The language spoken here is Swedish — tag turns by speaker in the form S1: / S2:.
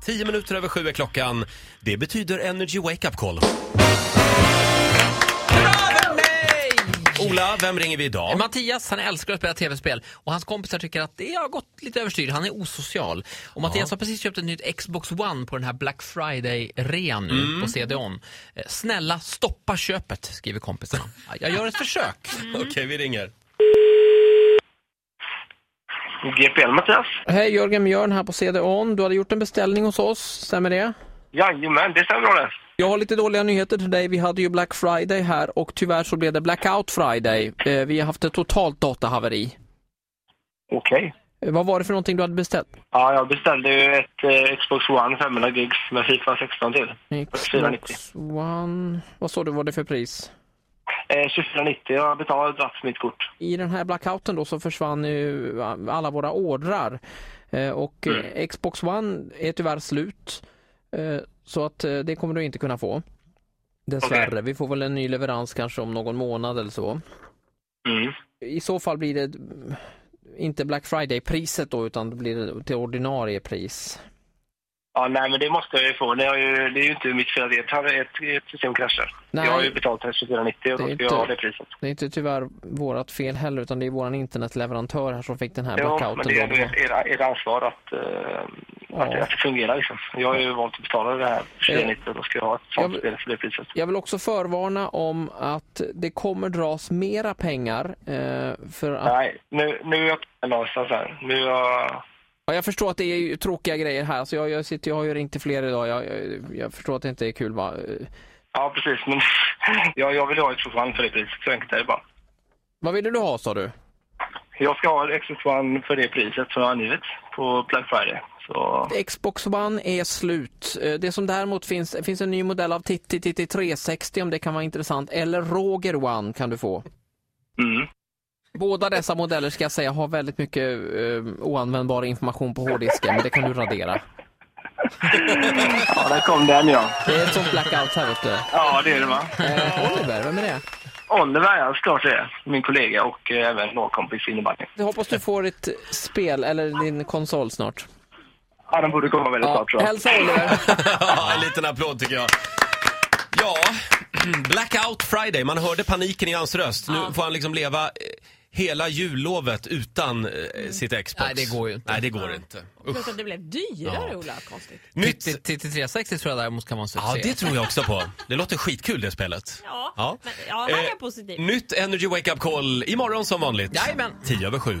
S1: Tio minuter över sju är klockan. Det betyder Energy Wake Up Call. Ola, vem ringer vi idag?
S2: Mattias han älskar att spela tv-spel och hans kompisar tycker att det har gått lite överstyr. Han är osocial. Och Mattias har precis köpt ett nytt Xbox One på den här Black Friday-rean nu
S1: Mm.
S2: på CD-ON. Eh, Snälla stoppa köpet, skriver kompisarna. Jag gör ett försök.
S1: Okej, vi ringer.
S3: GPL Mattias?
S4: Hej, Jörgen Björn här på CD-ON. Du hade gjort en beställning hos oss, stämmer det?
S3: Jajamän, det stämmer bra det.
S4: Jag har lite dåliga nyheter till dig. Vi hade ju Black Friday här och tyvärr så blev det Blackout Friday. Eh, Vi har haft ett totalt datahaveri.
S3: Okej.
S4: Eh, Vad var det för någonting du hade beställt?
S3: Ja, jag beställde ju ett eh, Xbox One 500 gigs med Fifa 16 till.
S4: Xbox One... Vad sa du vad det för pris?
S3: Eh, 2490, jag har betalat dratt för mitt kort.
S4: I den här blackouten då så försvann ju eh, alla våra ordrar. Eh, Och eh, Xbox One är tyvärr slut. Eh, Så att eh, det kommer du inte kunna få. Dessvärre.
S3: Okej.
S4: Vi får väl en ny leverans kanske om någon månad eller så.
S3: Mm.
S4: I så fall blir det mm, inte Black Friday-priset då utan det blir det till ordinarie pris.
S3: Ja, nej men det måste jag ju få. Det är ju, det är ju inte mitt fel att ert, har- ert, ert system kraschar.
S4: Nej.
S3: Jag har ju betalat det här 2490 och då
S4: Det är
S3: ska
S4: inte-
S3: jag ha det priset.
S4: Det är inte tyvärr vårt fel heller utan det är vår internetleverantör här som fick den här
S3: Ja, men
S4: blackouten.
S3: det är
S4: då.
S3: ändå ert, ert- ert ansvar att, eh, att,
S4: Ja.
S3: att det fungerar liksom. Jag har ju valt att betala det här 2490 och då ska jag ha ett sånt
S4: Jag-
S3: spel för det priset.
S4: Jag vill också förvarna om att det kommer dras mera pengar. Eh, för att,
S3: Nej, nu, nu är jag någonstans här. Nu är jag...
S4: ja, jag förstår att det är ju tråkiga grejer här. Så jag, jag, sitter, jag har ju ringt till fler idag. Jag, jag, jag förstår att det inte är kul. Va? Eh,
S3: Ja, precis. Men jag, jag vill ha Xbox One för det priset. Så enkelt är det bara.
S4: Vad ville du ha sa du?
S3: Jag ska ha Xbox One för det priset som jag har angivit på Black Friday. Så,
S4: Xbox One är slut. Eh, Det som däremot finns, det finns en ny modell av Titti Titti 360 om det kan vara intressant. Eller Roger One kan du få.
S3: mm.
S4: Båda dessa modeller ska jag säga har väldigt mycket eh, oanvändbar information på hårddisken, men det kan du radera.
S3: Ja, där kom den ja.
S4: Det är ett sånt blackout här vet du.
S3: Ja, det är det va.
S4: Eh, Oliver, vem är det?
S3: Oliver, ja, såklart det är. Min kollega och eh, även lagkompis i innebandy.
S4: Jag hoppas du får ditt spel, eller din konsol snart.
S3: Ja, den borde komma väldigt snart tror jag.
S4: hälsa Oliver.
S1: Ja, en liten applåd tycker jag. Ja, Blackout Friday. Man hörde paniken i hans röst. Nu får han liksom leva eh, hela jullovet utan eh, sitt Xbox.
S2: Mm. Nej, det går ju inte.
S1: Nej, det går inte.
S5: Plus att det blev dyrare,
S1: Ja.
S5: Ola. Konstigt.
S1: Nytt...
S2: 360 tror jag däremot kan vara en succé.
S1: Ja, det tror jag också på. Det låter skitkul det spelet. Eh,
S5: Ja, men- ja, han är positiv.
S1: Nytt Energy Wake Up Call imorgon som vanligt.
S2: Jajamän.
S1: 10 över 7.